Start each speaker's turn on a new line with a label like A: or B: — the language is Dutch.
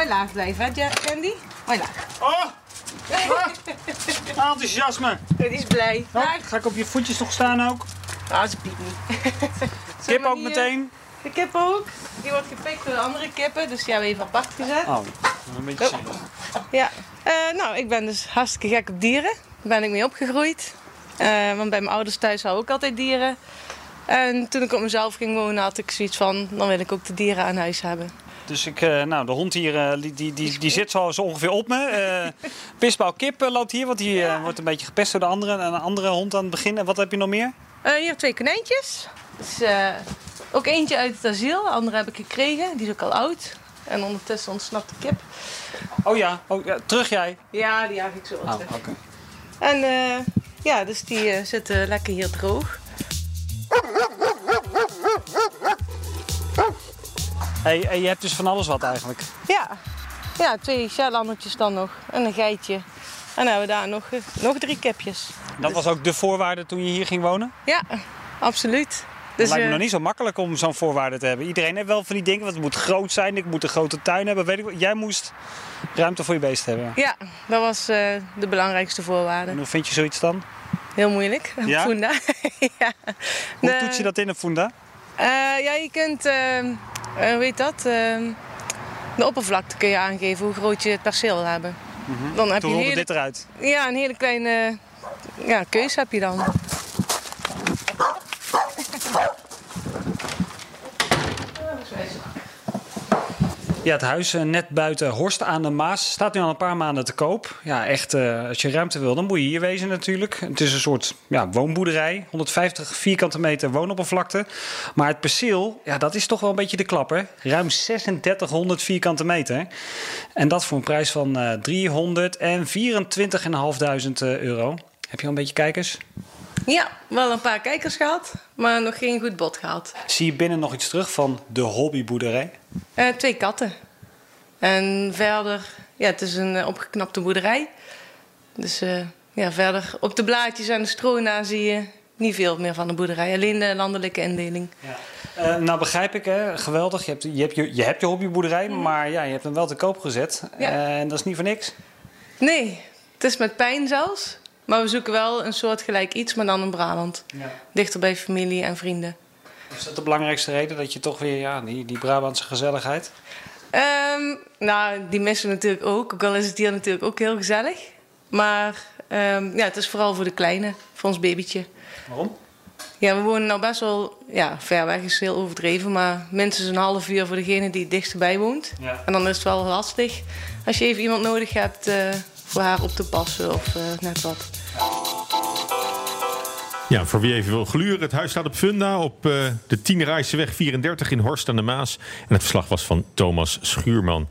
A: eh, laag blijven, hè, Ja- Candy? Mooi laag.
B: Oh! Ah, enthousiasme.
A: Die is blij.
B: Oh,
A: Laag.
B: ga ik op je voetjes toch staan ook?
A: Ah, ze piept niet.
B: Kip ook
A: hier-
B: meteen.
A: eh, De kip ook. Die wordt gepikt door de andere kippen, dus die hebben we even apart gezet.
B: Oh, een beetje
A: Oh.
B: zielig.
A: Ja, Eh, nou, ik ben dus hartstikke gek op dieren. Daar ben ik mee opgegroeid. Eh, want bij mijn ouders thuis hadden ook altijd dieren. En toen ik op mezelf ging wonen, had ik zoiets van: dan wil ik ook de dieren aan huis hebben.
B: Dus ik, eh, nou, de hond hier, eh, die, die, die, die zit zo, zo ongeveer op me. Eh Pisbouw Kip eh, loopt hier, want die eh, wordt een beetje gepest door de andere. En een andere hond aan het begin. En wat heb je nog meer?
A: Eh, hier twee konijntjes. Dus, eh, ook eentje uit het asiel, de andere heb ik gekregen. Die is ook al oud. En ondertussen ontsnapt de kip.
B: Oh ja, oh, ja, terug jij.
A: Ja, die jaag ik zo wel
B: Oh,
A: terug.
B: oké.
A: En eh, ja, dus die eh, zitten lekker hier droog.
B: Hey, hey, je hebt dus van alles wat eigenlijk.
A: Ja, ja twee sjalandertjes dan nog. En een geitje. En dan hebben we daar nog, eh, nog drie kipjes.
B: Dat was ook de voorwaarde toen je hier ging wonen?
A: Ja, absoluut.
B: Het lijkt
A: eh,
B: me nog niet zo makkelijk om zo'n voorwaarde te hebben. Iedereen heeft wel van die dingen, want het moet groot zijn, ik moet een grote tuin hebben. Weet ik, wat. jij moest ruimte voor je beest hebben.
A: Ja, dat was eh, de belangrijkste voorwaarde.
B: En hoe vind je zoiets dan?
A: Heel moeilijk.
B: Ja?
A: Funda. ja.
B: Hoe
A: De-
B: toets je dat in een funda?
A: Eh, ja, je kunt, ehm, weet weet dat, ehm, de oppervlakte kun je aangeven hoe groot je het perceel wil hebben. Dan heb
B: Toen
A: je een
B: rolde
A: hele,
B: dit eruit.
A: ja, een hele kleine ja, keus heb je dan.
B: Ja, het huis eh, net buiten Horst aan de Maas staat nu al een paar maanden te koop. Ja, echt, eh, als je ruimte wil, dan moet je hier wezen natuurlijk. Het is een soort ja, woonboerderij, 150 vierkante meter woonoppervlakte. Maar het perceel, ja, dat is toch wel een beetje de klap, hè? Ruim 3600 vierkante meter. En dat voor een prijs van eh 324.500 euro. Heb je al een beetje kijkers?
A: Ja, wel een paar kijkers gehad, maar nog geen goed bod gehad.
B: Zie je binnen nog iets terug van de hobbyboerderij?
A: Eh, twee katten. En verder, ja, het is een eh, opgeknapte boerderij. Dus eh, ja, verder op de blaadjes en de stro na zie je niet veel meer van de boerderij. Alleen de landelijke indeling.
B: Ja. Eh, nou begrijp ik, hè? geweldig. Je hebt je, hebt je, je, hebt je hobbyboerderij, maar ja, je hebt hem wel te koop gezet.
A: Ja.
B: Eh, en dat is niet voor niks.
A: Nee, het is met pijn zelfs. Maar we zoeken wel een soortgelijk iets, maar dan in Brabant. Dichter bij familie en vrienden.
B: Is dat de belangrijkste reden dat je toch weer, ja, die, die Brabantse gezelligheid?
A: Ehm, nou, die missen we natuurlijk ook. Ook al is het hier natuurlijk ook heel gezellig. Maar ehm, ja, het is vooral voor de kleine, voor ons babytje.
B: Waarom?
A: Ja, we wonen nou best wel ja, ver weg, is heel overdreven. Maar minstens een half uur voor degene die het dichtstbij woont.
B: Ja.
A: En dan is het wel lastig als je even iemand nodig hebt eh, voor haar op te passen of eh, net wat.
C: Ja, voor wie even wil gluren. Het huis staat op Funda op eh, de Tienrijseweg 34 in Horst aan de Maas. En het verslag was van Thomas Schuurman.